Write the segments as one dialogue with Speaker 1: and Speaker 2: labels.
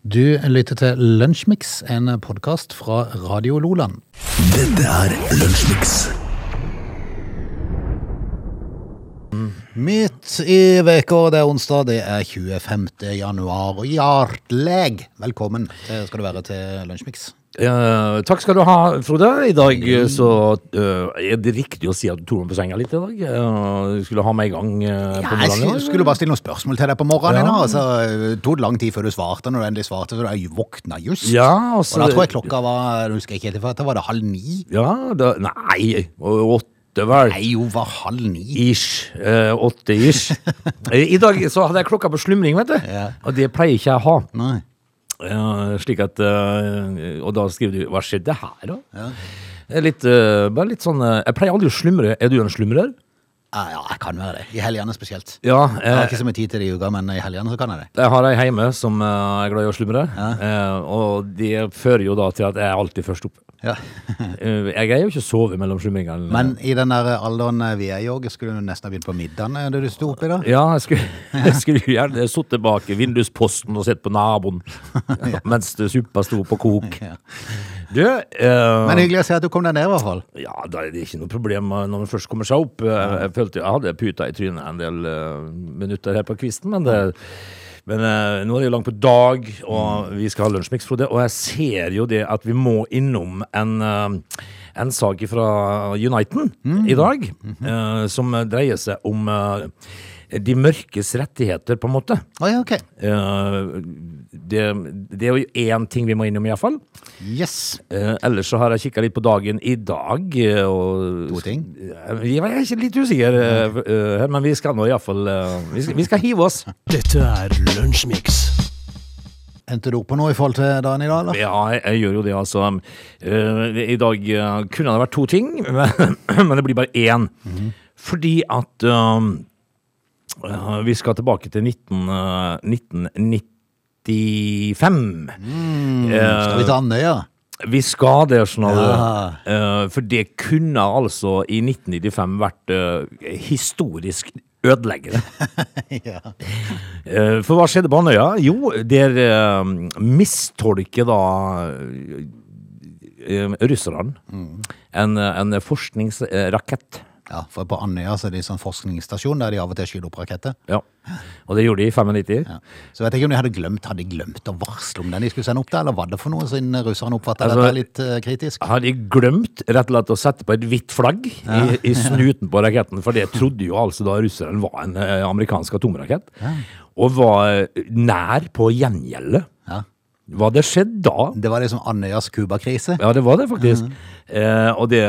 Speaker 1: Du lytter til Lunsjmix, en podkast fra Radio Loland.
Speaker 2: Dette er Lunsjmix.
Speaker 1: Midt i veka, det er onsdag, det er 25. januar. Og hjertelig velkommen eh, skal du være til Lunsjmix.
Speaker 3: Eh, takk skal du ha, Frode. I dag eh, så eh, er det riktig å si at du tok meg på senga litt i dag. Eh, du skulle ha meg i gang eh,
Speaker 1: Jeg
Speaker 3: på morgenen. i dag.
Speaker 1: skulle skulle bare stille noen spørsmål til deg på morgenen.
Speaker 3: Ja.
Speaker 1: Ja. Altså, det tok lang tid før du svarte. Når du endelig svarte, så du våkna just.
Speaker 3: Ja, altså,
Speaker 1: Og da tror jeg klokka var jeg husker ikke helt, for da var det halv ni.
Speaker 3: Ja, da, nei, åtte vel.
Speaker 1: Nei, jo, var halv ni.
Speaker 3: Ish. Eh, åtte ish. Eh, I dag så hadde jeg klokka på slumring, vet du.
Speaker 1: Ja.
Speaker 3: Og det pleier ikke jeg å ha.
Speaker 1: Nei.
Speaker 3: Eh, slik at eh, Og da skriver du 'Hva skjedde her', da? Eh, Litt, eh, bare litt sånn eh, Jeg pleier aldri å slumre. Er du en slumrer?
Speaker 1: Ah, Ja, ja, jeg kan være det. I helgene spesielt.
Speaker 3: Ja.
Speaker 1: Jeg har
Speaker 3: eh,
Speaker 1: ikke så mye tid til det i uka, men i helgene så kan jeg det.
Speaker 3: Jeg har ei hjemme som eh, er glad i å slumre, eh, og det fører jo da til at jeg er alltid først opp.
Speaker 1: Ja.
Speaker 3: Eh, jeg greier jo ikke å sove mellom slumringene.
Speaker 1: Men i den der alderen eh, vi er i òg, skulle du nesten ha begynt på middagen eh, da du sto oppi da?
Speaker 3: Ja, jeg skulle, jeg skulle jo gjerne sittet bak i vindusposten og sett på naboen mens suppa sto på kok.
Speaker 1: Ja.
Speaker 3: Du, eh,
Speaker 1: Men hyggelig å se at du kom deg ned, i hvert fall.
Speaker 3: ja, da er det ikke noe problem eh, når man først kommer seg opp. Eh, Jeg følte jeg hadde puta i trynet en del eh, minutter her på kvisten, men det men eh, nå er det jo langt på dag, og vi skal ha lunsjmix, Frode. Og jeg ser jo det at vi må innom en, eh, en sak fra Uniten i dag, eh, som dreier seg om eh, de mørkes rettigheter, på en måte.
Speaker 1: Å ja, ok.
Speaker 3: Eh, det, det er jo én ting vi må innom, iallfall.
Speaker 1: Yes.
Speaker 3: Eh, ellers så har jeg kikka litt på dagen i dag. eh, Og,
Speaker 1: To ting?
Speaker 3: Eh, Jeg er ikke litt usikker, eh, eh, her, men vi skal nå iallfall uh, vi, skal- vi skal hive oss.
Speaker 2: Dette er Lunsjmix.
Speaker 1: Endte du opp på noe i forhold til dagen i dag, eller?
Speaker 3: Ja, jeg, jeg gjør jo det, altså. Eh, I dag eh, kunne det vært to ting, men, men det blir bare én.
Speaker 1: Mhm.
Speaker 3: Fordi at um, eh, vi skal tilbake til 19, eh, 1995.
Speaker 1: Mm,
Speaker 3: Eh,
Speaker 1: Skal vi ta Andøya?
Speaker 3: Vi skal det, Snarve.
Speaker 1: Ja.
Speaker 3: Eh, for det kunne altså i 1995 vært eh, historisk ødeleggende.
Speaker 1: ja.
Speaker 3: Eh, for hva skjedde på Andøya? Jo, der uh, mistolker da eh, russerne
Speaker 1: Mm.
Speaker 3: en, eh, en forskningsrakett.
Speaker 1: ja. For på Andøya så er det en sånn forskningsstasjon der de av og til skyter opp raketter.
Speaker 3: Ja. Og det gjorde de i 95.
Speaker 1: Ja. Så vet jeg ikke om de hadde glemt Hadde de glemt å varsle om den de skulle sende opp der, eller var det for noe siden russerne oppfatta
Speaker 3: Altså-
Speaker 1: dette litt eh, kritisk?
Speaker 3: Har de glemt rett og slett å sette på et hvitt flagg i, i snuten på raketten? For det trodde jo altså da russeren var en eh, amerikansk atomrakett. Og var eh, nær på å gjengjelde.
Speaker 1: Ja.
Speaker 3: Hva hadde skjedd da?
Speaker 1: Det var liksom Andøyas Cuba-krise.
Speaker 3: Ja, det var det faktisk.
Speaker 1: Mhm.
Speaker 3: eh, og det,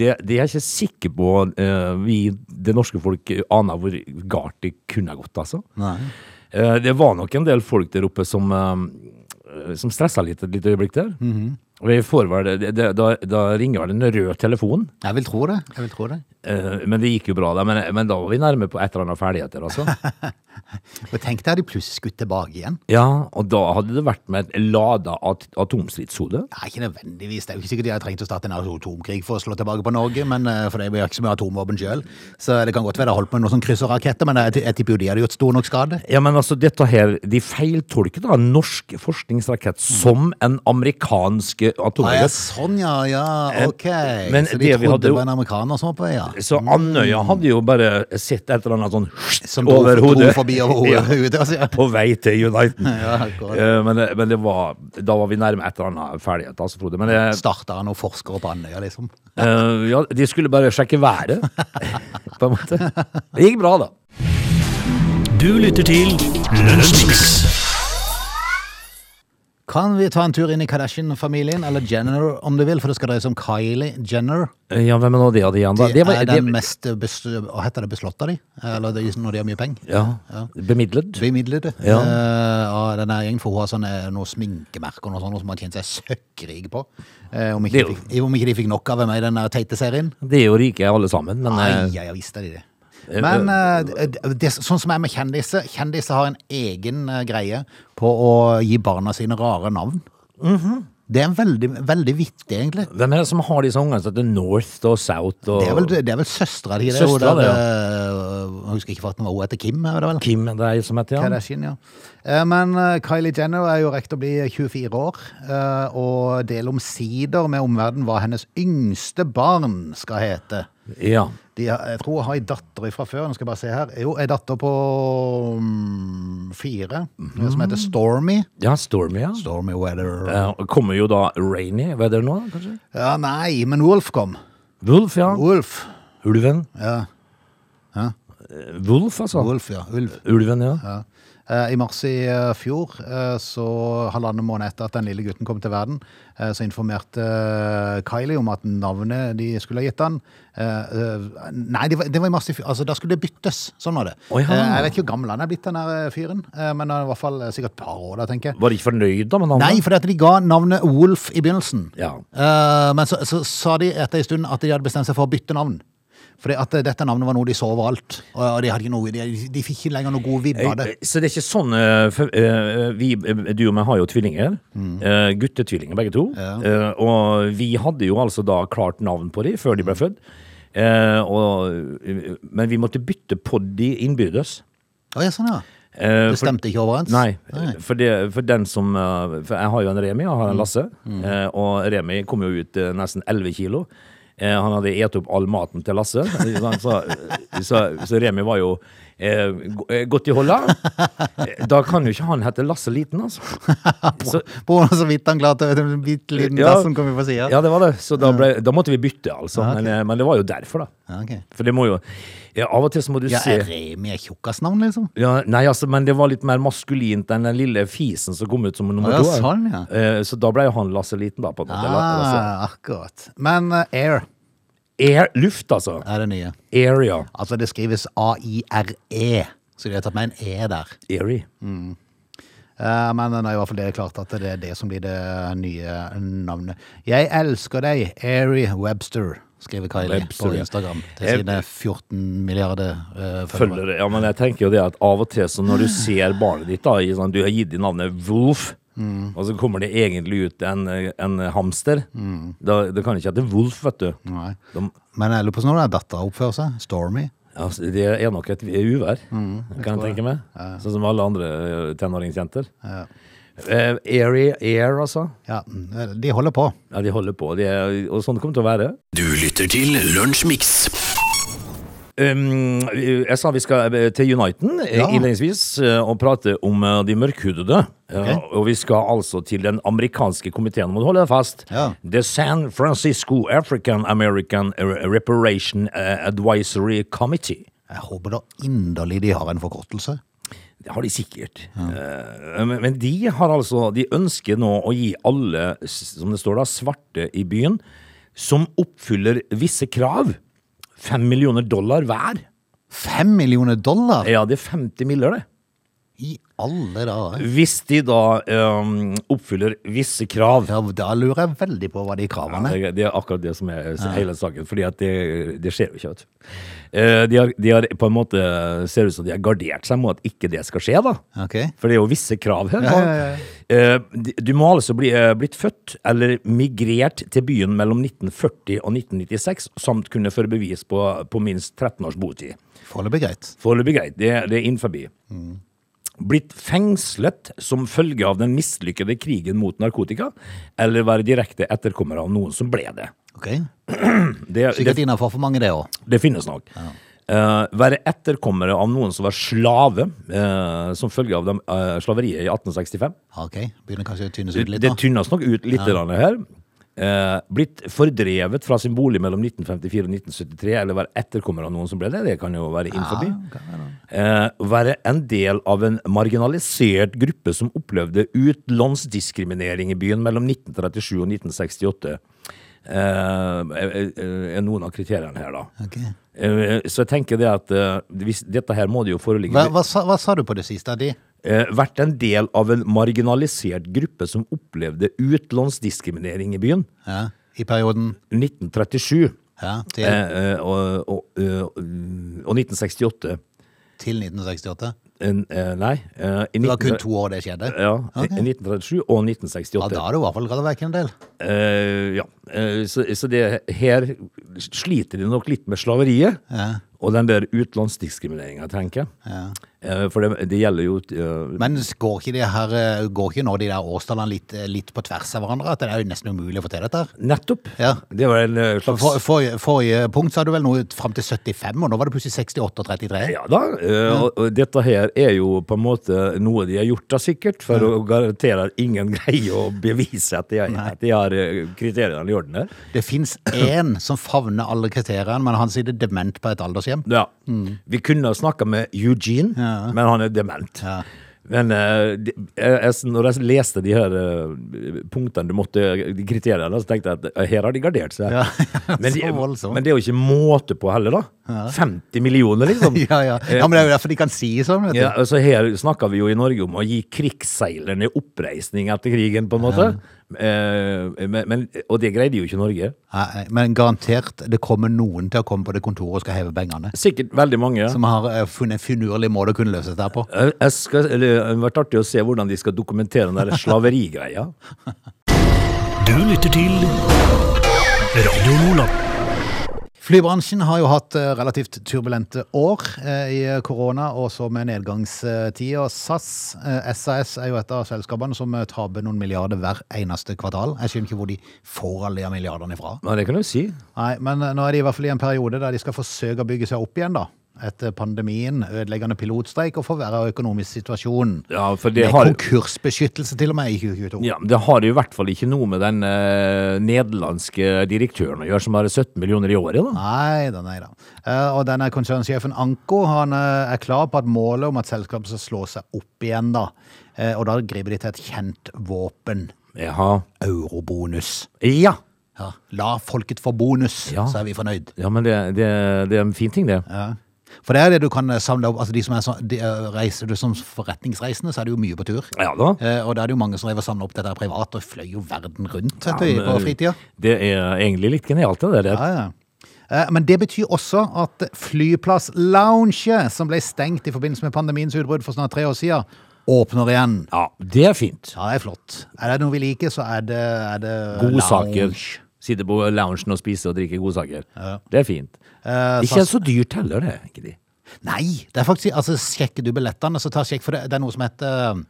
Speaker 3: det, det er jeg ikke sikker på eh, vi, det norske folk, aner hvor galt det kunne ha gått, altså.
Speaker 1: Nei.
Speaker 3: Eh, det var nok en del folk der oppe som, eh, som stressa litt et lite øyeblikk der.
Speaker 1: Mhm.
Speaker 3: Og jeg får vel, det, det, da, da ringer vel en rød telefon.
Speaker 1: Jeg vil tro det. Jeg vil tro det.
Speaker 3: Eh, men det gikk jo bra, da. Men, men da var vi nærme på et eller annet ferdigheter, altså.
Speaker 1: Og tenk deg, de plutselig skutt tilbake igjen.
Speaker 3: Ja, og da hadde det vært med et lada at atomstridshode.
Speaker 1: Nei, ikke nødvendigvis. Det er jo ikke sikkert de har trengt å starte en atomkrig for å slå tilbake på Norge, men eh, for det blir jo ikke så mye atomvåpen sjøl. Så det kan godt være det har holdt på med noen sånn krysserraketter, men jeg, jeg tipper jo de hadde gjort stor nok skade.
Speaker 3: Ja, men altså, dette her De feiltolker da en norsk forskningsrakett som en amerikansk
Speaker 1: Mm. Ah, ja,
Speaker 3: atomrakett.
Speaker 1: sånn, ja. Ja, ok.
Speaker 3: Eh, men
Speaker 1: så de
Speaker 3: det vi
Speaker 1: trodde
Speaker 3: hadde
Speaker 1: det
Speaker 3: jo-
Speaker 1: var en amerikaner som var på vei, ja.
Speaker 3: Så Andøya hadde jo bare sett et eller annet sånn
Speaker 1: Mm. Som dro,
Speaker 3: over
Speaker 1: dro
Speaker 3: hodet.
Speaker 1: forbi over hodet.
Speaker 3: Ja,
Speaker 1: hodet altså, ja.
Speaker 3: på vei til Uniten.
Speaker 1: Ja, akkurat.
Speaker 3: Eh, men det, men det var, da var vi nærme et eller annet ferdighet, altså, Frode. Men det,
Speaker 1: Starta han og forskere på Andøya, liksom?
Speaker 3: Eh, ja, de skulle bare sjekke været, på en måte. Det gikk bra, da.
Speaker 2: Du lytter til Lunsjmix.
Speaker 1: Kan vi ta en tur inn i Kardashian-familien, eller Jenner om du vil, for det skal dreie seg om Kylie Jenner.
Speaker 3: Eh, Ja, hvem er nå det, Adrian?
Speaker 1: De
Speaker 3: da? Det var-
Speaker 1: er den
Speaker 3: det-
Speaker 1: mest bes, hva heter det, beslått av de, eller de, når de har mye penger.
Speaker 3: ja, Bemidlet?
Speaker 1: Bemidlede
Speaker 3: Ja.
Speaker 1: eh, av denne gjengen, for hun har sånne, noen sminkemerker og noe sånt, noe som har tjent seg søkkrig på. Eh, om, ikke
Speaker 3: Det er
Speaker 1: de
Speaker 3: jo-
Speaker 1: fikk, om ikke de fikk nok av meg i den der teite serien.
Speaker 3: Det er jo rike alle sammen, men
Speaker 1: Nei,
Speaker 3: eh,
Speaker 1: jeg visste de det. Men eh, det, det, sånn som er med kjendiser,
Speaker 3: Mhm.
Speaker 1: kjendiser har en egen eh, greie på å gi barna sine rare navn. Det er en veldig, veldig vittig, egentlig.
Speaker 3: Hvem er det som har disse ungene som heter North og South og
Speaker 1: Det er vel, det er vel søstera di, det.
Speaker 3: Søstra,
Speaker 1: hun der,
Speaker 3: det,
Speaker 1: eh, Jeg husker ikke hva hun heter. Kim, er det vel?
Speaker 3: Kim er det ei som heter han?
Speaker 1: Kardashian, ja. Eh, Men eh, Kylie Jenner er jo rekt å bli 24 år, eh, og del omsider med omverdenen hva hennes yngste barn skal hete.
Speaker 3: Ja.
Speaker 1: De, har- jeg tror hun har ei datter fra før. Nå skal jeg bare se her. Jo, ei datter på mm, fire, som heter Stormy.
Speaker 3: ja, Stormy, ja.
Speaker 1: Mhm. Stormy Weather. Ja.
Speaker 3: Eh, Kommer jo da Rainy Weather nå, kanskje?
Speaker 1: nei, men Wolf kom.
Speaker 3: Wolf, ja.
Speaker 1: Wolf.
Speaker 3: Ulven.
Speaker 1: Ja,
Speaker 3: Eh, Wolf, altså.
Speaker 1: Wolf, ja. Ulv.
Speaker 3: Ulven, ja.
Speaker 1: Ja. Eh, I mars i eh, fjor, eh, så halvannen måned etter at den lille gutten kom til verden, eh, så informerte eh, Kylie om at navnet de skulle ha gitt han eh, eh, Nei, det var, det var i mars i fjor. Altså, da skulle det byttes. Sånn var det.
Speaker 3: Å, ja.
Speaker 1: Eh, Jeg vet ikke hvor gammel han er blitt, den her eh, fyren, eh, men han er i hvert fall eh, sikkert et par år, da, tenker jeg.
Speaker 3: Var ikke fornøyd da med navnet?
Speaker 1: Nei, fordi at de ga navnet Wolf i begynnelsen.
Speaker 3: Ja.
Speaker 1: Eh, men så, så sa de etter en stund at de hadde bestemt seg for å bytte navn. Fordi at eh, dette navnet var noe de så overalt. Og og de, hadde ikke noe, de, de fikk ikke lenger noe god vibb av det.
Speaker 3: Eh, Så det er ikke sånn eh, for, eh, vi, eh, Du og meg har jo tvillinger.
Speaker 1: Mm.
Speaker 3: eh, Guttetvillinger begge to. Eh, Og vi hadde jo altså da klart navn på dem før de
Speaker 1: Mm.
Speaker 3: ble født. Eh, og, eh, men vi måtte bytte på de innbyrdes.
Speaker 1: Å, ja, sånn, ja.
Speaker 3: Eh,
Speaker 1: Det stemte ikke overens?
Speaker 3: Nei, For, det, for den som eh, For jeg har jo en Remi, og har
Speaker 1: Mm.
Speaker 3: en Lasse. eh, Og Remi kom jo ut eh, nesten 11 kilo. Eh, Han hadde et opp all maten til Lasse, så, så, så, så Remi var jo eh, go- eh, godt i holda. Eh, Da kan jo ikke han hete Lasse Liten, altså. Så,
Speaker 1: På henne så vidt han klarte en bitte liten
Speaker 3: Ja.
Speaker 1: dass som kom vi på sida.
Speaker 3: ja, det var det. Så da, ble, da måtte vi bytte, altså.
Speaker 1: Ja, ok.
Speaker 3: Men, eh, men det var jo derfor, da.
Speaker 1: Ja, ok.
Speaker 3: For det må jo ja, Av og til så må du
Speaker 1: ja
Speaker 3: se
Speaker 1: er Remi et tjukkasnavn, liksom?
Speaker 3: Ja, nei, altså, men det var litt mer maskulint enn den lille fisen som kom ut som nummer
Speaker 1: Å, ja,
Speaker 3: to.
Speaker 1: sånn, ja.
Speaker 3: Eh, Så da ble jo han Lasse Liten, da. på en måte. Lasse.
Speaker 1: Ah, akkurat. Men eh, Air
Speaker 3: Air, luft, altså.
Speaker 1: er det nye.
Speaker 3: Area.
Speaker 1: Altså, det skrives A-I-R-E E, Så de har tatt med en E der.
Speaker 3: Airy.
Speaker 1: Eh, Men nå er i hvert fall det klart at det er det som blir det nye navnet. Jeg elsker deg, Airy Webster, skriver Kylie
Speaker 3: Webster,
Speaker 1: på
Speaker 3: ja.
Speaker 1: Instagram.
Speaker 3: Eh,
Speaker 1: Til sine 14 milliarder eh, følgere.
Speaker 3: Følger det. Ja, men jeg tenker jo det at av og til så når du ser barnet ditt, da, i sånn, du har gitt det navnet Wolf,
Speaker 1: Mm.
Speaker 3: og så kommer det egentlig ut en, en hamster.
Speaker 1: Mm.
Speaker 3: Da, det kan ikke hete Wolf, vet du.
Speaker 1: Nei.
Speaker 3: De,
Speaker 1: Men jeg lurer på sånn hvordan dattera oppfører seg. Stormy.
Speaker 3: altså, det er nok et uvær,
Speaker 1: Mm,
Speaker 3: kan jeg tenke meg. Sånn som alle andre eh, tenåringsjenter.
Speaker 1: Ja.
Speaker 3: Eh, airy, air, altså.
Speaker 1: Ja, mm, de holder på.
Speaker 3: Ja, de holder på. De er, og sånn kommer det til å være.
Speaker 2: Du lytter til Lunsjmix.
Speaker 3: Um, jeg sa vi skal eh, til Uniten eh,
Speaker 1: Ja.
Speaker 3: innledningsvis eh, og prate om eh, de mørkhudede. Eh,
Speaker 1: Ok.
Speaker 3: Og vi skal altså til den amerikanske komiteen, må du holde deg fast.
Speaker 1: Ja.
Speaker 3: The San Francisco African American eh, Reparation eh, Advisory Committee.
Speaker 1: Jeg håper da inderlig de har en forkortelse.
Speaker 3: Det har de sikkert. Eh, Men men de har altså De ønsker nå å gi alle, s- som det står da, svarte i byen som oppfyller visse krav, fem millioner dollar hver.
Speaker 1: Fem millioner dollar?
Speaker 3: Ja, det er 50 miller, det.
Speaker 1: I alle dager.
Speaker 3: Hvis de da eh, oppfyller visse krav.
Speaker 1: Ja, da lurer jeg veldig på hva de kravene er.
Speaker 3: Det, det er akkurat det som er hele saken, fordi at det, det skjer jo ikke. Vet. du. Eh, De har, de har på en måte ser ut som de har gardert seg mot at ikke det skal skje, da.
Speaker 1: Ok.
Speaker 3: For det er jo visse krav her.
Speaker 1: Ja, ja, ja.
Speaker 3: Eh, d- Du må altså bli eh, blitt født eller migrert til byen mellom 1940 og 1996, samt kunne føre bevis på, på minst 13 års botid.
Speaker 1: Foreløpig greit.
Speaker 3: Foreløpig greit, det, det er innenfor.
Speaker 1: Mm.
Speaker 3: Blitt fengslet som følge av den mislykkede krigen mot narkotika, eller være direkte etterkommer av noen som ble det.
Speaker 1: Ok.
Speaker 3: Det, det,
Speaker 1: Sikkert innafor for mange, det òg.
Speaker 3: det finnes nok. Eh, være etterkommere av noen som var slave eh, som følge av dem, eh, slaveriet i 1865.
Speaker 1: Ok. Begynner kanskje å tynnes
Speaker 3: Det,
Speaker 1: ut litt
Speaker 3: det
Speaker 1: nå.
Speaker 3: tynnes nok ut litt grann her. Eh, blitt fordrevet fra sin bolig mellom 1954 og 1973, eller være etterkommer av noen som ble det. Det kan jo være innenfor. Eh, være en del av en marginalisert gruppe som opplevde utlånsdiskriminering i byen mellom 1937 og 1968. Eh, eh, eh, er noen av kriteriene her, da.
Speaker 1: Ok.
Speaker 3: Eh, så jeg tenker det at eh, hvis, dette her må det jo foreligge
Speaker 1: Hva, hva, sa, hva sa du på det siste? De?
Speaker 3: eh, vært en del av en marginalisert gruppe som opplevde utlånsdiskriminering i byen.
Speaker 1: Ja. I perioden
Speaker 3: 1937
Speaker 1: ja,
Speaker 3: eh,
Speaker 1: til,
Speaker 3: eh, og, og, eh, og 1968.
Speaker 1: til 1968?
Speaker 3: en, eh, Nei. eh, i
Speaker 1: Det var
Speaker 3: 19
Speaker 1: kun to år det skjedde.
Speaker 3: Ja, i 1937 og 1968.
Speaker 1: Ja, da har du i hvert fall gått vekk en del.
Speaker 3: Eh, ja. Eh, så, så det her sliter de nok litt med slaveriet.
Speaker 1: Ja.
Speaker 3: Og den der utenlandsdiskrimineringa, tenker jeg.
Speaker 1: Ja.
Speaker 3: Eh, for det, det gjelder jo eh,
Speaker 1: Men går ikke, det her, eh, går ikke nå de der årstallene litt, eh, litt på tvers av hverandre? At det er jo nesten umulig å få til dette? her?
Speaker 3: Nettopp!
Speaker 1: Ja.
Speaker 3: Det var en eh, slags
Speaker 1: For, forrige- forrige punkt sa du vel noe fram til 75, og nå var det plutselig 68 og 33?
Speaker 3: Ja da. eh, og- Og dette her er jo på en måte noe de har gjort da sikkert, for å garantere at ingen greier å bevise at de, har- at de har eh, kriteriene i orden her.
Speaker 1: Det fins én som favner alle kriteriene, men han sitter dement på et aldershjem.
Speaker 3: Ja. Vi kunne ha snakka med Eugene,
Speaker 1: Mm. Ja.
Speaker 3: men han er dement.
Speaker 1: Ja.
Speaker 3: Men eh, de, jeg, jeg- når jeg leste de her eh, punktene du måtte de kriteriene, så tenkte jeg at eh, her har de gardert seg.
Speaker 1: Ja,
Speaker 3: men, de,
Speaker 1: så voldsomt.
Speaker 3: men det er jo ikke måte på heller, da. 50 millioner, liksom.
Speaker 1: Ja, ja. ja, men det er jo derfor de kan si sånn, vet du.
Speaker 3: Ja, altså Her snakker vi jo i Norge om å gi krigsseilerne oppreisning etter krigen, på en måte. Eh, men, men, og det greide jo ikke Norge.
Speaker 1: Nei, Men garantert, det kommer noen til å komme på det kontoret og skal heve pengene.
Speaker 3: Sikkert veldig mange.
Speaker 1: Som har eh, funnet en finurlig måte å kunne løse dette her på.
Speaker 3: Jeg jeg skal, eller, det hadde vært artig å se hvordan de skal dokumentere den der slaverigreia.
Speaker 2: Du lytter til Radio Nordland.
Speaker 1: Flybransjen har jo hatt eh, relativt turbulente år eh, i korona, og så med nedgangstid. Og SAS, eh, SAS er jo et av selskapene som eh, taper noen milliarder hver eneste kvartal. Jeg skjønner ikke hvor de får alle de milliardene ifra.
Speaker 3: Men det kan du si.
Speaker 1: Nei, men eh, nå er de i hvert fall i en periode der de skal forsøke å bygge seg opp igjen, da. Etter pandemien, ødeleggende pilotstreik og forverra økonomisk situasjon.
Speaker 3: Ja, for det
Speaker 1: Med
Speaker 3: har,
Speaker 1: konkursbeskyttelse til og med i 2022.
Speaker 3: ja, men det har i hvert fall ikke noe med den eh, nederlandske direktøren å gjøre, som har 17 millioner i året. da.
Speaker 1: Nei da, nei da. Eh, og denne konsernsjefen Anko han eh, er klar på at målet om at selskapet skal slå seg opp igjen, da. Eh, og da griper de til et kjent våpen.
Speaker 3: Jaha.
Speaker 1: Eurobonus.
Speaker 3: Ja.
Speaker 1: Ja. La folket få bonus,
Speaker 3: Ja.
Speaker 1: så er vi fornøyd.
Speaker 3: ja, men det, det, det er en fin ting, det.
Speaker 1: Ja. For det er det du kan eh, samle opp. Altså de som er så, de, eh, reiser du som forretningsreisende, så er du jo mye på tur.
Speaker 3: Ja da.
Speaker 1: Eh, og da er det jo mange som driver og samler opp dette her privat, og fløy jo verden rundt vet du,
Speaker 3: Ja, men,
Speaker 1: på fritida.
Speaker 3: Det er egentlig litt genialt, det der.
Speaker 1: Ja, ja. Eh, Men det betyr også at flyplasslounge, som ble stengt i forbindelse med pandemiens utbrudd for snart tre år siden, åpner igjen.
Speaker 3: Ja, det er fint.
Speaker 1: Ja, det er flott. Er det noe vi liker, så er det, er det
Speaker 3: Godsaker.
Speaker 1: lounge.
Speaker 3: Sitte på loungen og spise og drikke godsaker. Det er fint.
Speaker 1: Eh,
Speaker 3: Ikke så dyrt heller, det. er ikke de.
Speaker 1: Nei, det er faktisk, altså sjekker du billettene, så ta sjekk, for det, det er noe som heter eh,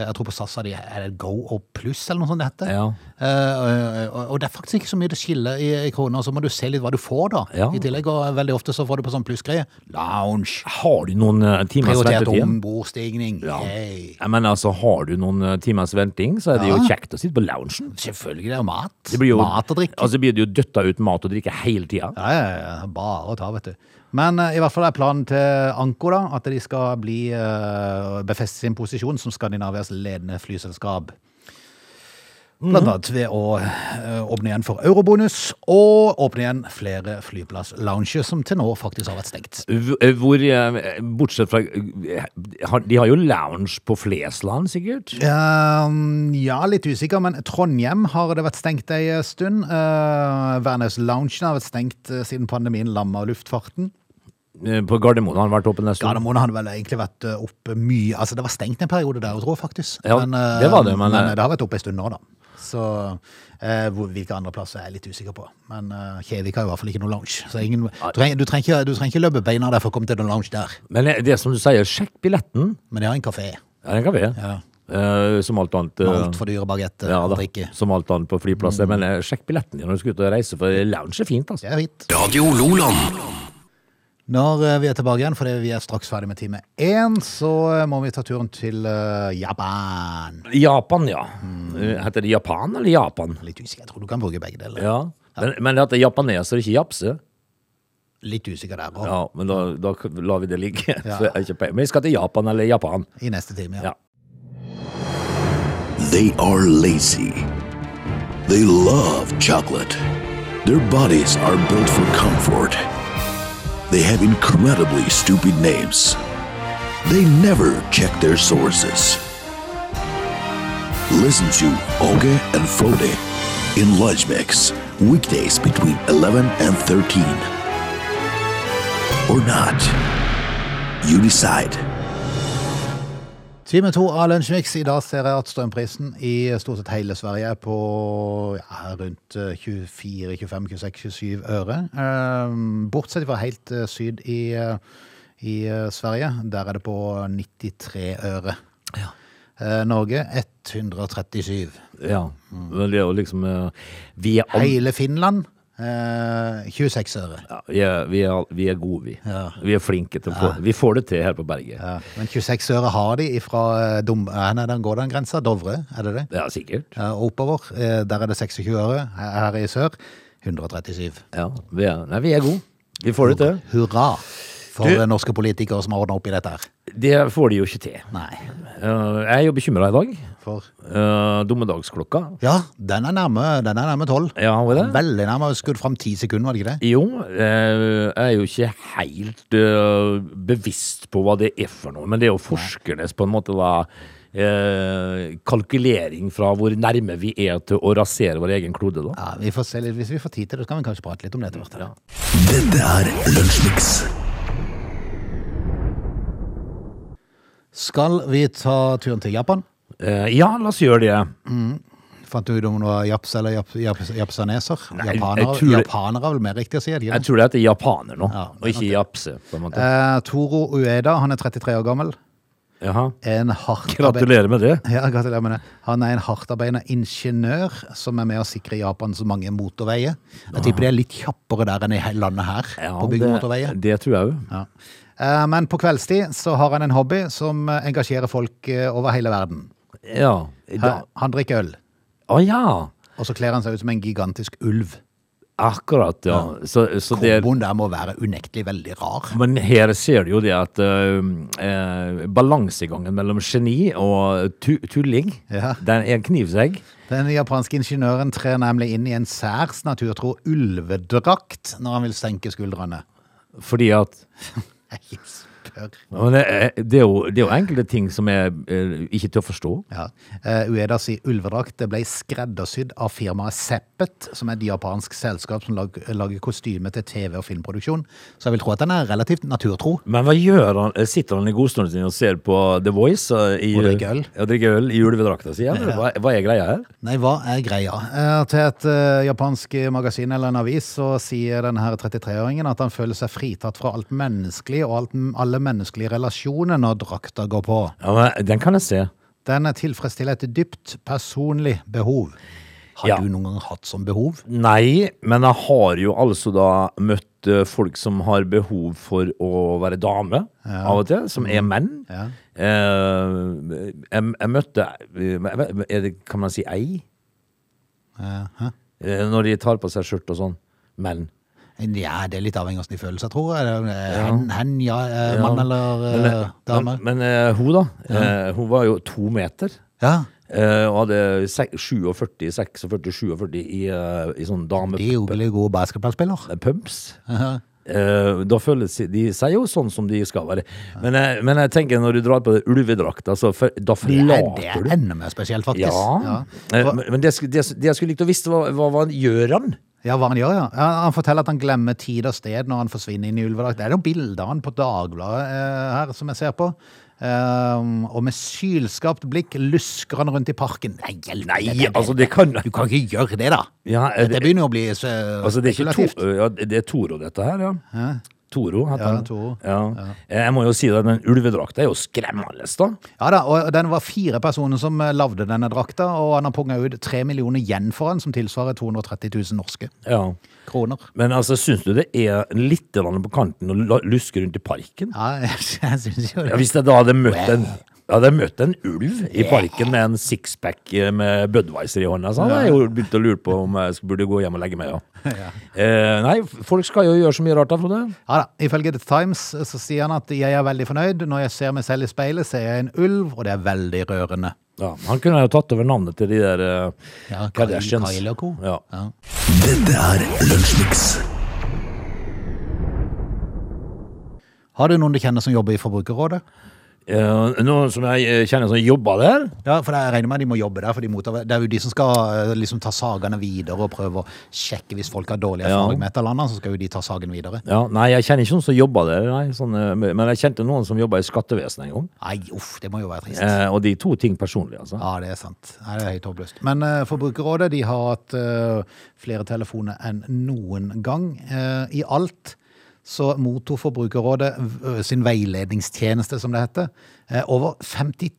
Speaker 1: jeg tror på SAS har de er det Go og Pluss, eller noe sånt det heter.
Speaker 3: Ja.
Speaker 1: Eh, og, og det er faktisk ikke så mye det skiller i, i kroner, så må du se litt hva du får da.
Speaker 3: Ja.
Speaker 1: I tillegg, og veldig ofte så får du på sånn plussgreie. Lounge.
Speaker 3: Har du noen eh, timers
Speaker 1: Prioritert
Speaker 3: ventetid?
Speaker 1: ombordstigning.
Speaker 3: Ja.
Speaker 1: Yay.
Speaker 3: Jeg mener, altså, har du noen eh, timers venting, så er det jo kjekt å sitte på loungen.
Speaker 1: Selvfølgelig, det er jo mat.
Speaker 3: Det blir jo,
Speaker 1: mat og drikke.
Speaker 3: Altså blir det jo døtta ut mat og drikke hele tida.
Speaker 1: Ja, ja, ja, bare å ta, vet du. Men eh, i hvert fall er planen til Anko da, at de skal bli, eh, befeste sin posisjon som Skandinavias ledende flyselskap.
Speaker 3: Mhm.
Speaker 1: Blant annet ved å eh, åpne igjen for eurobonus, og åpne igjen flere flyplasslounger som til nå faktisk har vært stengt.
Speaker 3: V- eh, Hvor, eh, bortsett fra eh, har- De har jo lounge på Flesland, sikkert?
Speaker 1: Ehm, ja, litt usikker, men Trondheim har det vært stengt ei eh, stund. Uh, Værnes-loungen har vært stengt eh, siden pandemien lamma luftfarten.
Speaker 3: Eh, På Gardermoen har han vært åpen en stund.
Speaker 1: Gardermoen hadde vel egentlig vært eh, oppe mye Altså, det var stengt en periode der, jeg tror faktisk.
Speaker 3: Ja,
Speaker 1: eh,
Speaker 3: det var det, men-
Speaker 1: eh, det har vært oppe en stund nå, da. Så eh, hvor, hvilke andre plasser er jeg litt usikker på. Men eh, Kjevik har i hvert fall ikke noe lounge. Så ingen, du, trenger, du, trenger ikke, du trenger ikke løpe beina der for å komme til noen lounge der.
Speaker 3: Men eh, det som du sier, sjekk billetten.
Speaker 1: Men de har en kafé.
Speaker 3: Ja, den kan vi.
Speaker 1: Ja.
Speaker 3: Eh, som alt annet. eh,
Speaker 1: Med altfor dyre bagetter
Speaker 3: ja,
Speaker 1: og
Speaker 3: da,
Speaker 1: drikke. Mm.
Speaker 3: som alt annet på flyplasser. Men eh, sjekk billetten din når du skal ut og reise, for lounge er fint, altså.
Speaker 1: Det er fint.
Speaker 2: Radio Loland.
Speaker 1: Når eh, vi er tilbake igjen, fordi vi er straks ferdig med time én, så eh, må vi ta turen til eh, Japan.
Speaker 3: Japan, ja.
Speaker 1: Mm.
Speaker 3: Eh, Heter det Japan eller Japan?
Speaker 1: Litt usikker. Jeg tror du kan bruke begge deler.
Speaker 3: Ja. Men, men det heter japaneser, ikke japse.
Speaker 1: Litt usikker der òg.
Speaker 3: Ja, men da, da lar vi det ligge.
Speaker 1: Ja.
Speaker 3: Så jeg har ikke peiling. Men vi skal til Japan eller Japan.
Speaker 1: I neste time, ja.
Speaker 3: Ja.
Speaker 2: They are lazy. They love chocolate. Their bodies are built for comfort. They have incredibly stupid names. They never check their sources. Listen to Oge and Frode in Lunch Mix, weekdays between 11 and 13. Or not. You decide.
Speaker 1: Time to av Lunsjmix. I dag ser jeg at strømprisen i eh, stort sett hele Sverige er på ja, rundt eh, 24, 25, 26, 27 øre. Ehm, Bortsett fra helt eh, syd i, eh, i eh, Sverige. Der er det på 93 øre. Eh, Norge 137.
Speaker 3: Ja. Men det er jo liksom eh, Vi er, all,
Speaker 1: Hele Finland eh, 26 øre.
Speaker 3: ja, vi er, vi er, all- vi er gode, vi.
Speaker 1: Ja.
Speaker 3: Vi er flinke til å få Vi får det til her på berget.
Speaker 1: Ja, men 26 øre har de fra dom, eh, nei, den går den grensa, Dovre, er det det?
Speaker 3: Ja, sikkert.
Speaker 1: Ja, og oppover, eh, der er det 26 øre, her her i sør, 137.
Speaker 3: Ja. Vi er, nei, vi er gode. Vi får det til.
Speaker 1: Hurra for
Speaker 3: Du-
Speaker 1: norske politikere som har ordnet opp i dette her.
Speaker 3: Det får de jo ikke til.
Speaker 1: Nei,
Speaker 3: Eh, jeg er jo bekymra i dag.
Speaker 1: for...
Speaker 3: Eh, dommedagsklokka.
Speaker 1: Ja, den er nærme, den er nærme 12.
Speaker 3: Ja, var det?
Speaker 1: Veldig nærme, skudd frem 10 sekunder, var det ikke det?
Speaker 3: Jo, eh, jeg er jo ikke helt eh, bevisst på hva det er for noe, men det er jo forskernes på en måte da eh, kalkulering fra hvor nærme vi er til å rasere vår egen klode, da.
Speaker 1: Ja, vi får se litt, hvis vi får tid til det, så kan vi kanskje prate litt om det etter hvert.
Speaker 3: Ja.
Speaker 2: Dette er Lunsjmix.
Speaker 1: Skal vi ta turen til Japan?
Speaker 3: Eh, ja, la oss gjøre det.
Speaker 1: Fant du ut om det var japs eller japs, japs, japsaneser?
Speaker 3: jeg
Speaker 1: Japanere,
Speaker 3: tror det-
Speaker 1: japanere er vel mer riktig å si, er det ikke det?
Speaker 3: Jeg tror det heter japaner nå,
Speaker 1: Ja,
Speaker 3: og ikke japse, på en måte.
Speaker 1: Eh, Toro Ueda, han er 33 år gammel.
Speaker 3: Jaha.
Speaker 1: En hardt arbeid-
Speaker 3: Gratulerer med det.
Speaker 1: Ja, gratulerer med det. Han er en hardtarbeidende ingeniør som er med å sikre Japans mange motorveier. Jeg tipper de er litt kjappere der enn i hele landet her. på å bygge motorveier.
Speaker 3: det tror jeg òg.
Speaker 1: Ja. Eh, Men på kveldstid så har han en hobby som eh, engasjerer folk eh, over hele verden.
Speaker 3: Ja.
Speaker 1: Hæ?
Speaker 3: Da-
Speaker 1: Han drikker øl,
Speaker 3: Å ja!
Speaker 1: og så kler han seg ut som en gigantisk ulv.
Speaker 3: Akkurat, ja. Så, så det er
Speaker 1: Komboen der må være unektelig veldig rar.
Speaker 3: Men her ser du jo det at eh, eh, balansegangen mellom geni og tu tulling,
Speaker 1: Ja.
Speaker 3: den er en knivsegg.
Speaker 1: Den japanske ingeniøren trer nemlig inn i en særs naturtro ulvedrakt når han vil senke skuldrene.
Speaker 3: Fordi at
Speaker 1: Nei, spør.
Speaker 3: men det, er- det, er jo, det er jo enkelte ting som er eh, ikke til å forstå.
Speaker 1: Ja. Eh, Uedas i ulvedrakt det ble skreddersydd av firmaet Seppet, som er et japansk selskap som lag, lager kostyme til TV- og filmproduksjon. Så jeg vil tro at den er relativt naturtro.
Speaker 3: Men hva gjør han? eh, Sitter han i godstolen sin og ser på The Voice? Og, i,
Speaker 1: Og drikker øl.
Speaker 3: Ja, drikker øl i ulvedrakta si? Eller hva, hva er greia her?
Speaker 1: Nei, hva er greia? Eh, til et eh, japansk magasin eller en avis så sier denne her 33-åringen at han føler seg fritatt fra alt menneskelig og alt, alle menneskelige relasjoner når drakta går på.
Speaker 3: Ja, men, den kan jeg se.
Speaker 1: Den tilfredsstiller et dypt personlig behov. Har
Speaker 3: Ja.
Speaker 1: du noen gang hatt sånn behov?
Speaker 3: Nei, men jeg har jo altså da møtt eh, folk som har behov for å være dame av og til, som er menn.
Speaker 1: Mm. Ja.
Speaker 3: Eh, jeg, jeg møtte eh, er det, Kan man si ei?
Speaker 1: Eh, hæ?
Speaker 3: Eh, når de tar på seg skjørt og sånn. Menn.
Speaker 1: Ja, det er litt avhengig av hvordan de føler seg, tror jeg. Det er, eh, Hen, hen ja, eh,
Speaker 3: Ja.
Speaker 1: mann eller eh, dame.
Speaker 3: Men, men eh, hun, da. eh, hun var jo to meter.
Speaker 1: Ja,
Speaker 3: eh, og hadde sek- 47, 46, 47 i, eh, i sånn
Speaker 1: de er jo
Speaker 3: damepumps.
Speaker 1: veldig gode basketballspillere. Eh, da føles de seg jo sånn som de skal være. Men jeg, men jeg tenker når du drar på det ulvedrakta, så for, da Det er, det
Speaker 3: forlater
Speaker 1: er
Speaker 3: du.
Speaker 1: enda mer spesielt, faktisk.
Speaker 3: Ja. Eh,
Speaker 1: For-
Speaker 3: Men, men det, sk- det, sk- det jeg skulle likt å visst, hva, hva, hva gjør han?
Speaker 1: Ja, hva han gjør, ja. Ja, Han forteller at han glemmer tid og sted når han forsvinner inn i ulvedrakt. Det er noen bilder av han på Dagbladet eh, her som jeg ser på. Ehm, og med sylskarpt blikk lusker han rundt i parken. Nei, hjelp,
Speaker 3: Nei,
Speaker 1: det- det-
Speaker 3: altså, det kan-
Speaker 1: Du kan ikke gjøre det, da!
Speaker 3: Ja, eh,
Speaker 1: Det
Speaker 3: det,
Speaker 1: begynner å bli så
Speaker 3: altså, det, er ikke
Speaker 1: spekulativt.
Speaker 3: to, ja, det er Toro, dette her, ja. Toro heter
Speaker 1: Ja,
Speaker 3: han.
Speaker 1: Toro.
Speaker 3: Ja. Eh, Jeg må jo si det, den ulvedrakta er jo skremmende, da.
Speaker 1: Ja da, og den var fire personer som eh, lavde denne drakta, og han har punga ut tre millioner igjen for han, som tilsvarer 230 000 norske
Speaker 3: Ja.
Speaker 1: kroner.
Speaker 3: Men altså, syns du det er litt grann på kanten å la- luske rundt i parken?
Speaker 1: Ja, jeg syns jo
Speaker 3: Ja,
Speaker 1: det.
Speaker 3: hvis jeg da hadde møtt en jeg hadde møtt en ulv i parken med en sixpack eh, med Budwiser i hånda. Så hadde jeg jo begynt å lure på om jeg sk- burde gå hjem og legge meg. Ja. Eh, nei, f- folk skal jo gjøre så mye rart da, Frode.
Speaker 1: Ja da, Ifølge The Times eh, så sier han at jeg er veldig fornøyd. Når jeg ser meg selv i speilet, ser jeg en ulv, og det er veldig rørende.
Speaker 3: Ja, han kunne jo tatt over navnet til de der eh,
Speaker 1: Ja, Kylie-
Speaker 3: Kardashians.
Speaker 1: Kylie og co.
Speaker 3: Ja.
Speaker 2: Dette er Lunsjmix.
Speaker 1: Har du noen du kjenner som jobber i Forbrukerrådet?
Speaker 3: Eh, noen som jeg eh, kjenner som jobber der.
Speaker 1: Ja, for jeg regner med de må jobbe der, for de motarbeider. det er jo de som skal eh, liksom ta sagene videre og prøve å sjekke hvis folk har dårlig erfaring
Speaker 3: Ja.
Speaker 1: med et eller annet, så skal jo de ta sagen videre.
Speaker 3: Ja, nei, jeg kjenner ikke noen som jobber der, nei, sånn, eh, men jeg kjente noen som jobba i skattevesenet en gang.
Speaker 1: Nei, uff, det må jo være trist.
Speaker 3: Eh, og de to ting personlig, altså.
Speaker 1: Ja, det er sant. Nei, det er helt håpløst. Men eh, Forbrukerrådet de har hatt eh, flere telefoner enn noen gang. Eh, I alt så mottok Forbrukerrådet v- eh, sin veiledningstjeneste, som det heter, eh, over 52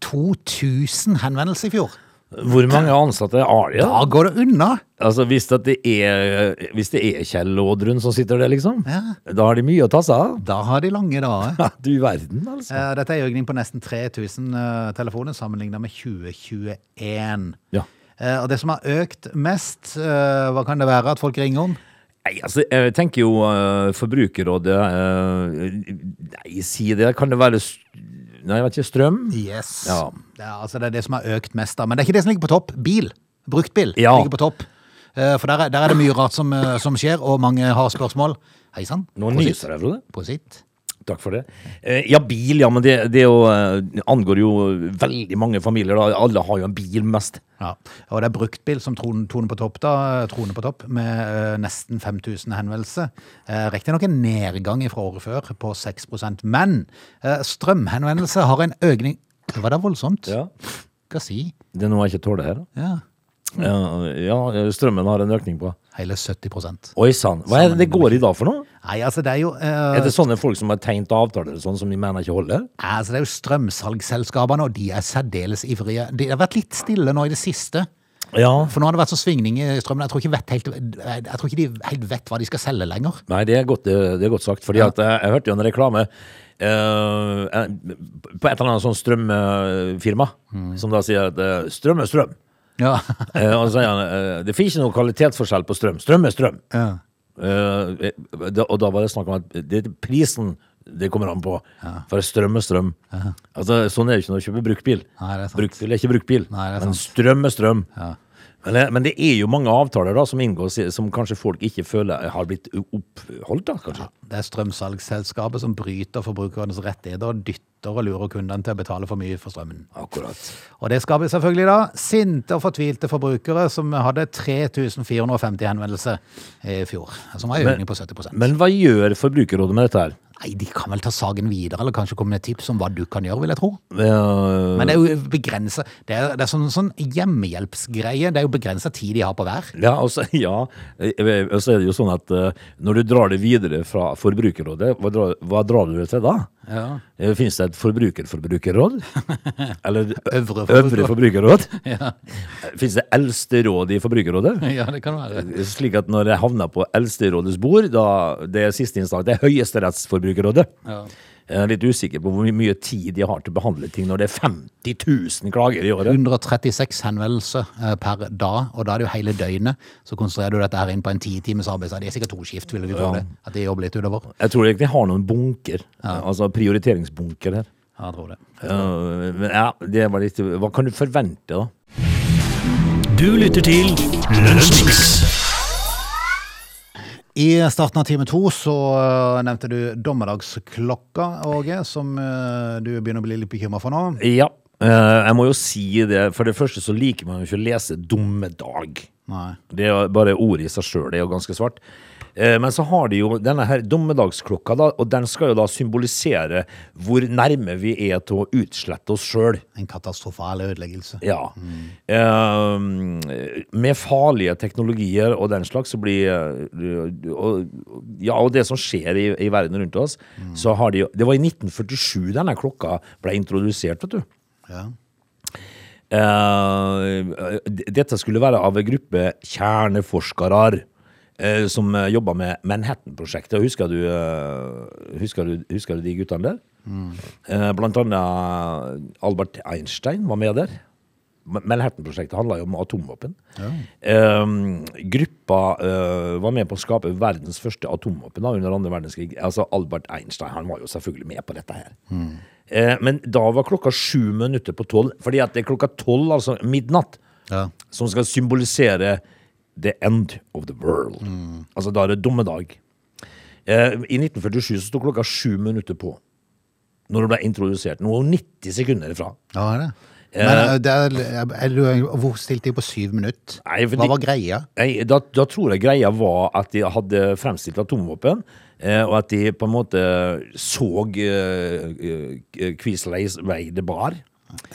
Speaker 1: 000 henvendelser i fjor.
Speaker 3: Hvor mange ansatte har de? da?
Speaker 1: Da går det unna!
Speaker 3: Altså, hvis, at det er, hvis det er Kjell Aadrun som sitter der, liksom,
Speaker 1: Ja.
Speaker 3: da har de mye å ta seg av.
Speaker 1: Da har de lange dager.
Speaker 3: Ja, Du verden, altså.
Speaker 1: Eh, Dette er en økning på nesten 3000 eh, telefoner sammenlignet med 2021.
Speaker 3: Ja.
Speaker 1: Eh, Og det som har økt mest, eh, hva kan det være at folk ringer om?
Speaker 3: Nei, altså, jeg tenker jo eh, Forbrukerrådet eh, Nei, si det. Kan det være s- Nei, jeg vet ikke. Strøm?
Speaker 1: Yes.
Speaker 3: Ja.
Speaker 1: Det er, altså, det er det som har økt mest, da. Men det er ikke det som ligger på topp. Bil. Bruktbil
Speaker 3: Ja.
Speaker 1: ligger på topp. Eh, For der er, der er det mye rart som, eh, som skjer, og mange har spørsmål. Hei sann.
Speaker 3: Nå nyser jeg, Frode.
Speaker 1: På sitt.
Speaker 3: Takk for det. Eh, Ja, bil, ja, men det, det er jo, eh, angår jo veldig mange familier. da. Alle har jo en bil mest.
Speaker 1: Ja. Og det er bruktbil som troner, troner på topp, da. Troner på topp med eh, nesten 5000 henvendelser. Uh, Riktignok en nedgang fra året før på 6 men uh, strømhenvendelser har en økning Det var da voldsomt?
Speaker 3: Ja.
Speaker 1: Hva si?
Speaker 3: Det er noe jeg ikke tåler her. da.
Speaker 1: Ja.
Speaker 3: Eh, Ja, strømmen har en økning på.
Speaker 1: Hele 70
Speaker 3: Oi sann. Hva er det det går i da for noe?
Speaker 1: Nei, altså det er jo eh,
Speaker 3: Er det sånne folk som har tegnet avtaler og sånn som de mener ikke holder?
Speaker 1: Altså, det er jo strømsalgsselskapene, og de er særdeles ivrige. Det har vært litt stille nå i det siste.
Speaker 3: Ja.
Speaker 1: For nå har det vært så svingning i strømmen. Jeg tror ikke, vet helt, jeg tror ikke de helt vet hva de skal selge lenger.
Speaker 3: Nei, det er godt, det er godt sagt. Fordi at jeg, jeg hørte jo en reklame eh, eh, på et eller annet sånn strømfirma, som da sier at eh, strøm er strøm.
Speaker 1: Ja.
Speaker 3: Eh, og så sier han eh, det finnes ikke noen kvalitetsforskjell på strøm. Strøm er strøm.
Speaker 1: ja.
Speaker 3: Eh, da, og da var det snakk om at det er prisen det kommer an på. For strøm er strøm. Altså, sånn er det ikke når du kjøper bruktbil.
Speaker 1: Nei, det er sant.
Speaker 3: Bruktbil er ikke bruktbil,
Speaker 1: Nei, det er
Speaker 3: men
Speaker 1: sant.
Speaker 3: strøm er strøm. Men, det, men det er jo mange avtaler da som inngås i- som kanskje folk ikke føler har blitt oppholdt. da, kanskje.
Speaker 1: Det er strømsalgsselskapet som bryter forbrukernes rettigheter og dytter og lurer kundene til å betale for mye for strømmen.
Speaker 3: Akkurat.
Speaker 1: Og det skaper selvfølgelig da sinte og fortvilte forbrukere som hadde 3450 henvendelser i fjor, som var en økning på 70
Speaker 3: Men hva gjør Forbrukerrådet med dette her?
Speaker 1: Nei, de kan vel ta saken videre, eller kanskje komme med tips om hva du kan gjøre, vil jeg tro.
Speaker 3: Eh,
Speaker 1: Men det er jo begrenset Det er, det er sånn, sånn hjemmehjelpsgreie. Det er jo begrenset tid de har på hver.
Speaker 3: Ja, og så, ja, eh, eh, og så er det jo sånn at eh, når du drar det videre fra Forbrukerrådet, hva drar, hva drar du det til da?
Speaker 1: Ja.
Speaker 3: Eh, Finnes det et forbrukerforbrukerråd? Eller
Speaker 1: Øvre
Speaker 3: ø- øvre
Speaker 1: forbruker-
Speaker 3: forbrukerråd?
Speaker 1: Ja,
Speaker 3: Finnes det eldste råd i Forbrukerrådet?
Speaker 1: det kan være.
Speaker 3: Slik at når jeg havner på eldsterådets bord, da det er siste instans, det er høyesterettsforbrukerrådet.
Speaker 1: Ja.
Speaker 3: Jeg er litt usikker på hvor my- mye tid de har til å behandle ting når det er 50 000 klager i året.
Speaker 1: 136 henvendelser eh, per dag, og da er det jo hele døgnet. Så konsentrerer du dette her inn på en ti times arbeidstid. Det er sikkert to skift, ville vi tro det. At de jobber litt utover.
Speaker 3: Jeg tror egentlig de har noen bunker, altså prioriteringsbunker her.
Speaker 1: Ja, jeg tror det.
Speaker 3: Eh, men ja, det var litt Hva kan du forvente, da?
Speaker 4: Du lytter til Lunsjmix.
Speaker 1: I starten av time to så eh, nevnte du dommedagsklokka, Åge, som eh, du begynner å bli litt bekymra for nå.
Speaker 3: Ja, eh, jeg må jo si det. For det første så liker man jo ikke å lese 'dummedag'.
Speaker 1: Nei.
Speaker 3: Det er jo bare ordet i seg sjøl, det er jo ganske svart. Eh, Men så har de jo denne her dommedagsklokka, da, og den skal jo da symbolisere hvor nærme vi er til å utslette oss sjøl.
Speaker 1: En katastrofal ødeleggelse.
Speaker 3: Ja. Eh, med farlige teknologier og den slags, så blir eh, og, Ja, og det som skjer i, i verden rundt oss, så har de jo Det var i 1947 denne klokka ble introdusert, vet du.
Speaker 1: Ja.
Speaker 3: Eh, d- dette skulle være av en gruppe kjerneforskere eh, som eh, jobba med Manhattan-prosjektet. Husker, du, eh, husker, du- husker du de guttene der? Eh, blant annet Albert Einstein var med der. Ma- Manhattan-prosjektet handla jo om atomvåpen. Eh, gruppa eh, var med på å skape verdens første atomvåpen da, under andre verdenskrig. Altså Albert Einstein han var jo selvfølgelig med på dette her. Eh, men da var klokka sju minutter på tolv, fordi at det er klokka tolv, altså midnatt,
Speaker 1: Ja.
Speaker 3: som skal symbolisere the end of the world. Altså da er det dommedag. Eh, I 1947 så sto klokka sju minutter på. når hun ble introdusert. Nå er hun 90 sekunder ifra.
Speaker 1: Ja, er det. Men eh, det er, jeg lurer- hvor stilte de på syv minutter?
Speaker 3: Nei, fordi-
Speaker 1: Hva var greia?
Speaker 3: Nei, da, da tror jeg greia var at de hadde fremstilt atomvåpen, eh, og at de på en måte så eh, Quisleys vei det bar.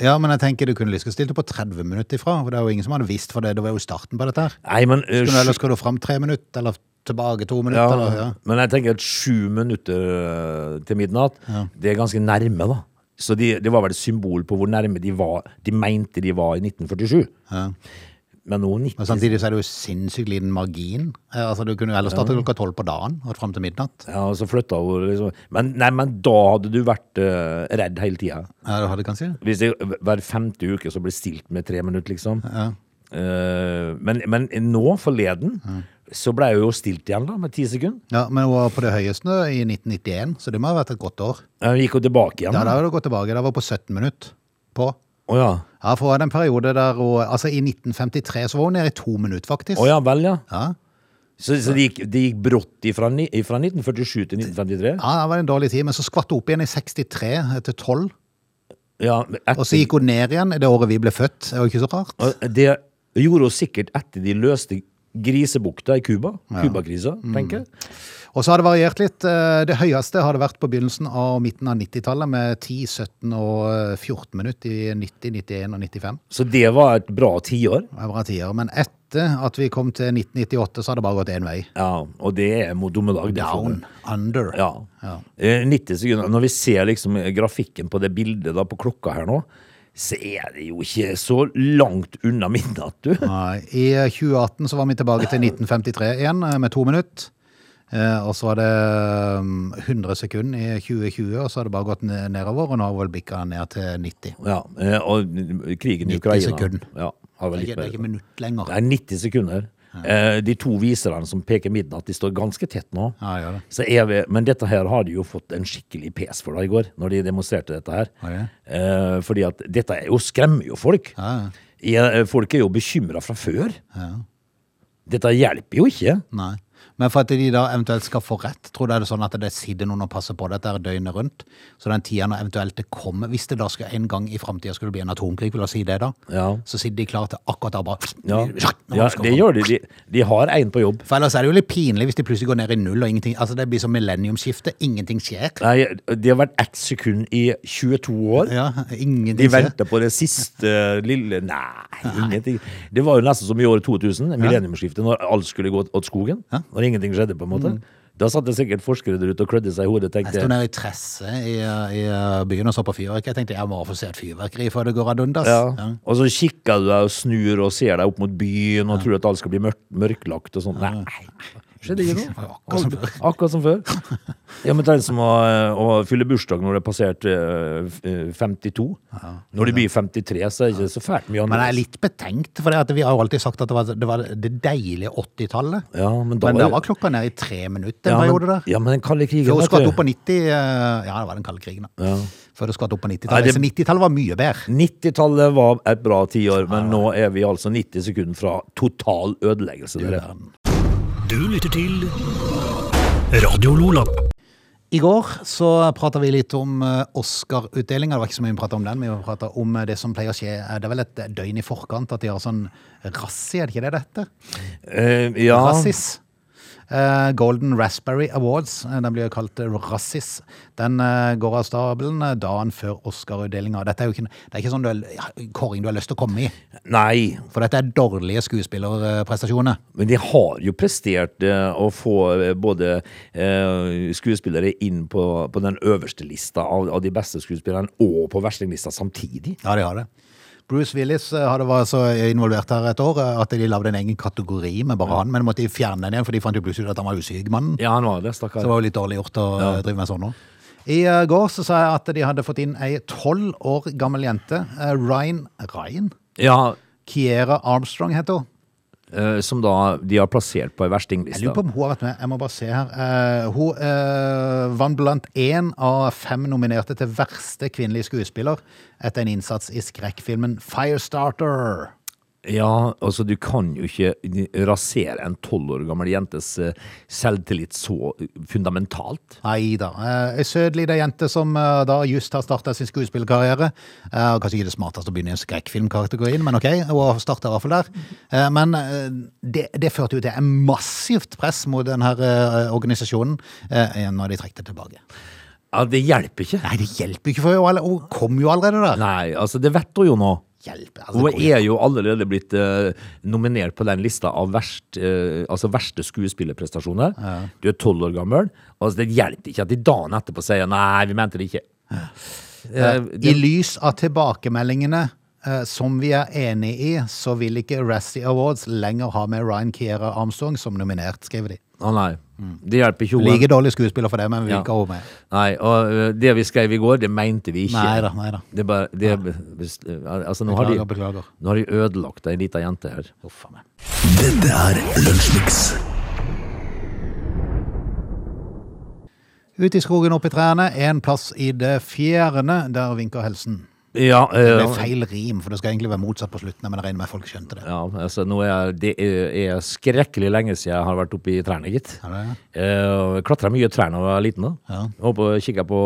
Speaker 1: Ja, men jeg tenker du kunne lyst til å stilte på 30 minutter ifra. For det er jo ingen som hadde visst, for det, det var jo starten på dette her.
Speaker 3: Nei, men eh,
Speaker 1: Kunne du ellers
Speaker 3: sju-
Speaker 1: gå fram tre minutter, eller tilbake to
Speaker 3: ja,
Speaker 1: minutter? Eller, ja.
Speaker 3: Men jeg tenker at sju minutter eh, til midnatt, det er ganske nærme, da. Så de, det var vel et symbol på hvor nærme de var De mente de var i 1947. Men nå 90
Speaker 1: Men samtidig så er det jo sinnssykt liten margin. Eh, Altså, du kunne jo ellers startet klokka tolv på dagen og fram til midnatt.
Speaker 3: Ja, og så flytta hun liksom men, Nei, men da hadde du vært eh, redd hele tida.
Speaker 1: Ja, du hadde kanskje det.
Speaker 3: Hvis det hver femte uke så blir stilt med tre minutter, liksom. Eh, men, men nå, forleden, så ble jeg jo stilt igjen, da, med ti sekunder.
Speaker 1: Ja, men hun var på det høyeste i 1991, så det må ha vært et godt år.
Speaker 3: Jeg Eh, gikk jo tilbake igjen.
Speaker 1: Ja,
Speaker 3: da.
Speaker 1: da har du gått tilbake. Det var på 17 minutter på.
Speaker 3: Å ja.
Speaker 1: Ja, for det er en periode der hun Altså, i 1953 så var hun nede i to minutter, faktisk.
Speaker 3: Å ja, vel, ja.
Speaker 1: Ja.
Speaker 3: Så, så det gikk, det gikk brått ifra, ni- ifra 1947 til 1953?
Speaker 1: Ja, det var en dårlig tid, men så skvatt hun opp igjen i 63 til 12.
Speaker 3: Ja, men etter,
Speaker 1: Og så gikk hun ned igjen det året vi ble født. Det var ikke så rart.
Speaker 3: og Det gjorde hun sikkert etter de løste grisebukta i Cuba. Cuba-krisa,
Speaker 1: Mm.
Speaker 3: tenker jeg.
Speaker 1: Og så har det variert litt. Eh, Det høyeste har det vært på begynnelsen av midten av 90-tallet, med 10, 17 og eh, 14 minutter i 90, 91 og 95.
Speaker 3: Så det var et bra tiår.
Speaker 1: Det var bra tider. Men etter at vi kom til 1998, så har det bare gått én vei.
Speaker 3: Ja, og det er mot dommedag. det får
Speaker 1: Down.
Speaker 3: du.
Speaker 1: Under.
Speaker 3: Ja. Eh, 90 sekunder. Når vi ser liksom grafikken på det bildet da, på klokka her nå, så er det jo ikke så langt unna midnatt, du.
Speaker 1: Nei, I eh, 2018 så var vi tilbake til 1953 igjen, eh, med to minutter. Eh, og så var det mm, 100 sekunder i 2020, og så har det bare gått ne- nedover. Og nå har vi vel bikka ned til 90.
Speaker 3: Ja, eh, og krigen
Speaker 1: 90
Speaker 3: i Ukraina.
Speaker 1: sekunder.
Speaker 3: Ja, har vel
Speaker 1: Det er ikke,
Speaker 3: litt
Speaker 1: det
Speaker 3: mer.
Speaker 1: er ikke minutt lenger.
Speaker 3: Det er 90 sekunder. Eh, De to viserne som peker midnatt, de står ganske tett nå.
Speaker 1: Ja, de gjør det.
Speaker 3: Så er vi, men dette her har de jo fått en skikkelig pes for da i går, når de demonstrerte dette her.
Speaker 1: Har de det?
Speaker 3: Eh, fordi at dette er jo, skremmer jo folk.
Speaker 1: Ja,
Speaker 3: Ja, Folk er jo bekymra fra før. Dette hjelper jo ikke.
Speaker 1: Nei. Men for at de da eventuelt skal få rett, tror du er det sånn at det sitter noen og passer på dette her døgnet rundt? Så den tida når eventuelt det kommer, hvis det da skulle en gang i framtida skulle bli en atomkrig, vil jeg si det da,
Speaker 3: Ja.
Speaker 1: så sitter de klare til akkurat da bare
Speaker 3: Ja,
Speaker 1: Nå
Speaker 3: ja
Speaker 1: skal
Speaker 3: det
Speaker 1: vi-
Speaker 3: gjør de. de. De har én på jobb.
Speaker 1: For ellers er det jo litt pinlig hvis de plutselig går ned i null og ingenting Altså det blir som millenniumsskifte, ingenting skjer.
Speaker 3: Nei, de har vært x sekund i 22 år.
Speaker 1: Ja, ingenting
Speaker 3: De
Speaker 1: skjer.
Speaker 3: venter på det siste lille Nei, ingenting. Det var jo nesten som i året 2000, millenniumsskiftet, når alt skulle gå åt skogen. Når ingenting skjedde, på en måte. Da satt det sikkert forskere der ute og klødde seg i hodet og
Speaker 1: Mm. Jeg sto
Speaker 3: tenkte
Speaker 1: nede i Tresse i, i eh, byen og så på fyrverkeri. Jeg tenkte jeg må få se et fyrverkeri før det går ad undas.
Speaker 3: ja.
Speaker 1: Ja.
Speaker 3: Og så kikker du deg og snur og ser deg opp mot byen og tror at alt skal bli mørk, mørklagt og sånn. Nei. Skjedde ikke noe.
Speaker 1: Akkurat som før.
Speaker 3: Akkurat som før. Ja, men det er som å, å fylle bursdag når det er passert eh, f- eh, 52. Når det blir 53, så er det ikke så fælt
Speaker 1: Men jeg er
Speaker 3: mye annerledes.
Speaker 1: litt betenkt, for det at vi har jo alltid sagt at det var det, var det deilige 80-tallet.
Speaker 3: Ja, men da
Speaker 1: Men
Speaker 3: var-
Speaker 1: da var klokka nede i tre minutter en
Speaker 3: Ja,
Speaker 1: periode
Speaker 3: men,
Speaker 1: der.
Speaker 3: ja, men den kalde krigen
Speaker 1: Før det
Speaker 3: vet
Speaker 1: skvatt
Speaker 3: du.
Speaker 1: opp på 90 eh, Ja, det var den kalde krigen, da. Før det skvatt opp på
Speaker 3: Nei,
Speaker 1: 90-tallet.
Speaker 3: det-
Speaker 1: Så 90-tallet var mye bedre.
Speaker 3: 90-tallet var et bra tiår, men nå er vi altså 90 sekunder fra total ødeleggelse. dere.
Speaker 4: Du lytter til Radio Lola.
Speaker 1: I går så prata vi litt om eh, Oscar-utdelinga. Det var ikke så mye vi prata om den. Vi prata om eh, det som pleier å skje eh, Det er vel et døgn i forkant at de har sånn razzie, er det ikke det det heter?
Speaker 3: Eh, ja,
Speaker 1: Rassis. Eh, Golden Raspberry Awards, eh, den blir jo kalt eh, Rassis. Den eh, går av stabelen eh, dagen før Oscar-utdelinga. Dette er jo ikke, det er ikke sånn du, er- ja, kåring du har lyst til å komme i,
Speaker 3: Nei,
Speaker 1: for dette er dårlige skuespillerprestasjoner.
Speaker 3: men de har jo prestert eh, å få eh, både eh, skuespillere inn på, på den øverste lista av, av de beste skuespillerne, og på verstinglista samtidig.
Speaker 1: Ja, de har det. Bruce Willis eh, hadde vært så involvert her et år eh, at de lagde en egen kategori med bare han, men måtte de fjerne den igjen, for de fant jo plutselig ut at han var usyk, mannen.
Speaker 3: Ja, han var det,
Speaker 1: Så
Speaker 3: stakkar.
Speaker 1: det var jo litt dårlig gjort å eh, drive med sånn nå. I eh, går så sa jeg at de hadde fått inn ei tolv år gammel jente. eh, Ryan Ryan?
Speaker 3: Ja,
Speaker 1: Kiera Armstrong heter hun.
Speaker 3: eh, som da de har plassert på ei
Speaker 1: Jeg lurer på
Speaker 3: verstingliste.
Speaker 1: om hun har vært med. Jeg må bare se her. Eh, hun eh, vant blant én av fem nominerte til verste kvinnelige skuespiller etter en innsats i skrekkfilmen Firestarter.
Speaker 3: Ja, altså du kan jo ikke rasere en tolv år gammel jentes eh, selvtillit så fundamentalt.
Speaker 1: Nei da. Ei Eh, sødlig det er jente som eh, da just har starta sin skuespillkarriere. Eh, og Kanskje ikke det smarteste å begynne i skrekkfilmkategorien, men ok. Hun starta i hvert fall der. Eh, Men eh, det, det førte jo til en massivt press mot denne organisasjonen eh, når de trekte tilbake.
Speaker 3: Ja, Det hjelper ikke.
Speaker 1: Nei, det hjelper jo ikke, for hun- hun kom jo allerede der.
Speaker 3: Nei, altså det vet hun jo nå.
Speaker 1: Hjelp, altså,
Speaker 3: Hun
Speaker 1: det går jo-
Speaker 3: er jo allerede blitt eh, nominert på den lista av verst, eh, altså verste skuespillerprestasjoner. Du er tolv år gammel. Altså Det hjelper ikke at de dagen etterpå sier nei, vi mente det ikke. Eh,
Speaker 1: I
Speaker 3: det,
Speaker 1: lys av tilbakemeldingene eh, som vi er enig i, så vil ikke Razzie Awards lenger ha med Ryan Kiera Armstrong som nominert, skriver de.
Speaker 3: å nei, det hjelper ikke
Speaker 1: Like
Speaker 3: henne.
Speaker 1: dårlig skuespiller for det, men vi vil
Speaker 3: Ja.
Speaker 1: ikke ha henne med.
Speaker 3: Nei, og eh, det vi skrev i går, det mente vi ikke.
Speaker 1: Neida, neida.
Speaker 3: Det er bare, det, er be- best- eh, altså, nå, har de,
Speaker 1: Beklager, beklager.
Speaker 3: nå har de ødelagt ei lita jente her.
Speaker 1: Uff a meg.
Speaker 2: Dette er Lunsjmix.
Speaker 1: Ute i skogen opp i trærne, en plass i det fjerne, der vinker helsen.
Speaker 3: Ja,
Speaker 1: Det
Speaker 3: eh,
Speaker 1: er feil rim, for det skal egentlig være motsatt på slutten, men jeg regner med folk skjønte det.
Speaker 3: ja altså, nå er det er, er skrekkelig lenge siden jeg har vært oppe i trærne, gitt.
Speaker 1: Er det?
Speaker 3: Uh, Klatra mye i trærne da jeg var liten. da
Speaker 1: Ja.
Speaker 3: Oppe og kikka på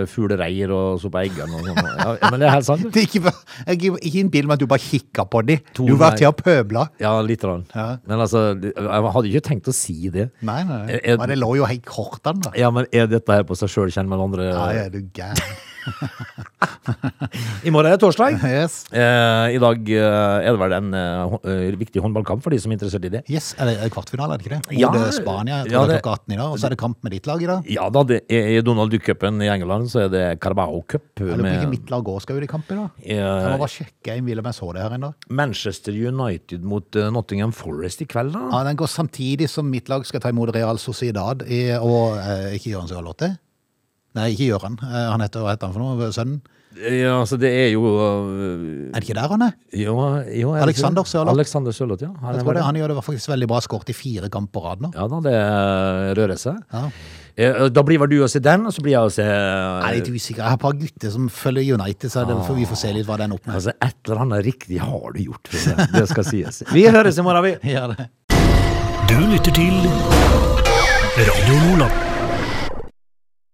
Speaker 3: eh, fuglereir og så på eggene og sånn. Ja, ja, men det er helt sant.
Speaker 1: Det er ikke, jeg er ikke innbill meg at du bare kikka på de.
Speaker 3: To
Speaker 1: Du var
Speaker 3: nei.
Speaker 1: til å pøbla.
Speaker 3: Ja, lite grann.
Speaker 1: Ja.
Speaker 3: Men altså, det- jeg hadde ikke tenkt å si det.
Speaker 1: Nei, nei, nei.
Speaker 3: Er- er-
Speaker 1: Men det lå jo helt kortene, da.
Speaker 3: Ja, men er dette her på seg sjøl kjent med andre?
Speaker 1: Ja, ja, du gæren.
Speaker 3: I morgen er det torsdag.
Speaker 1: Yes.
Speaker 3: Eh, I dag eh, er det vel en eh, hå- eh, viktig håndballkamp for de som er interessert i det.
Speaker 1: Yes, er det er det kvartfinale, er det ikke det?
Speaker 3: Ja,
Speaker 1: Ja, det er Spania jeg tror
Speaker 3: ja,
Speaker 1: det
Speaker 3: det-
Speaker 1: er klokka 18 i dag, og så er det kamp med ditt lag i dag.
Speaker 3: Ja da, det er, i Donald Duck-cupen i England så er det Carabao Cup.
Speaker 1: Jeg lurer på ikke
Speaker 3: Med
Speaker 1: mitt lag òg skal ut i kamp i dag. Jeg må
Speaker 3: eh,
Speaker 1: bare sjekke jeg om jeg så det her ennå.
Speaker 3: Manchester United mot eh, Nottingham Forest i kveld, da.
Speaker 1: Ja, den går samtidig som mitt lag skal ta imot Real Sociedad i, og eh, ikke Jørgen Sørlotte. Nei, ikke Jøran. Eh, han heter, hva heter han for noe? Sønnen?
Speaker 3: Ja, altså det er jo eh,
Speaker 1: Er det ikke der han er?
Speaker 3: Jo, jo er det
Speaker 1: Alexander
Speaker 3: ikke det?
Speaker 1: Sørloth.
Speaker 3: Alexander Sørloth, ja. Han
Speaker 1: Jeg
Speaker 3: er
Speaker 1: tror det,
Speaker 3: vel-
Speaker 1: han gjør det faktisk veldig bra skåret i fire kamper på rad nå.
Speaker 3: Ja da, det eh, rører seg.
Speaker 1: Ja.
Speaker 3: Eh, Da blir vel du å se den, og så blir jeg å se
Speaker 1: Jeg er litt usikker. Jeg har et par gutter som følger United, så det, får vi får se litt hva den opp med.
Speaker 3: Altså, et eller annet riktig har du gjort, Frode. Det skal sies. Vi høres i morgen, vi.
Speaker 1: Gjør det.
Speaker 4: Du lytter til Radio Lola.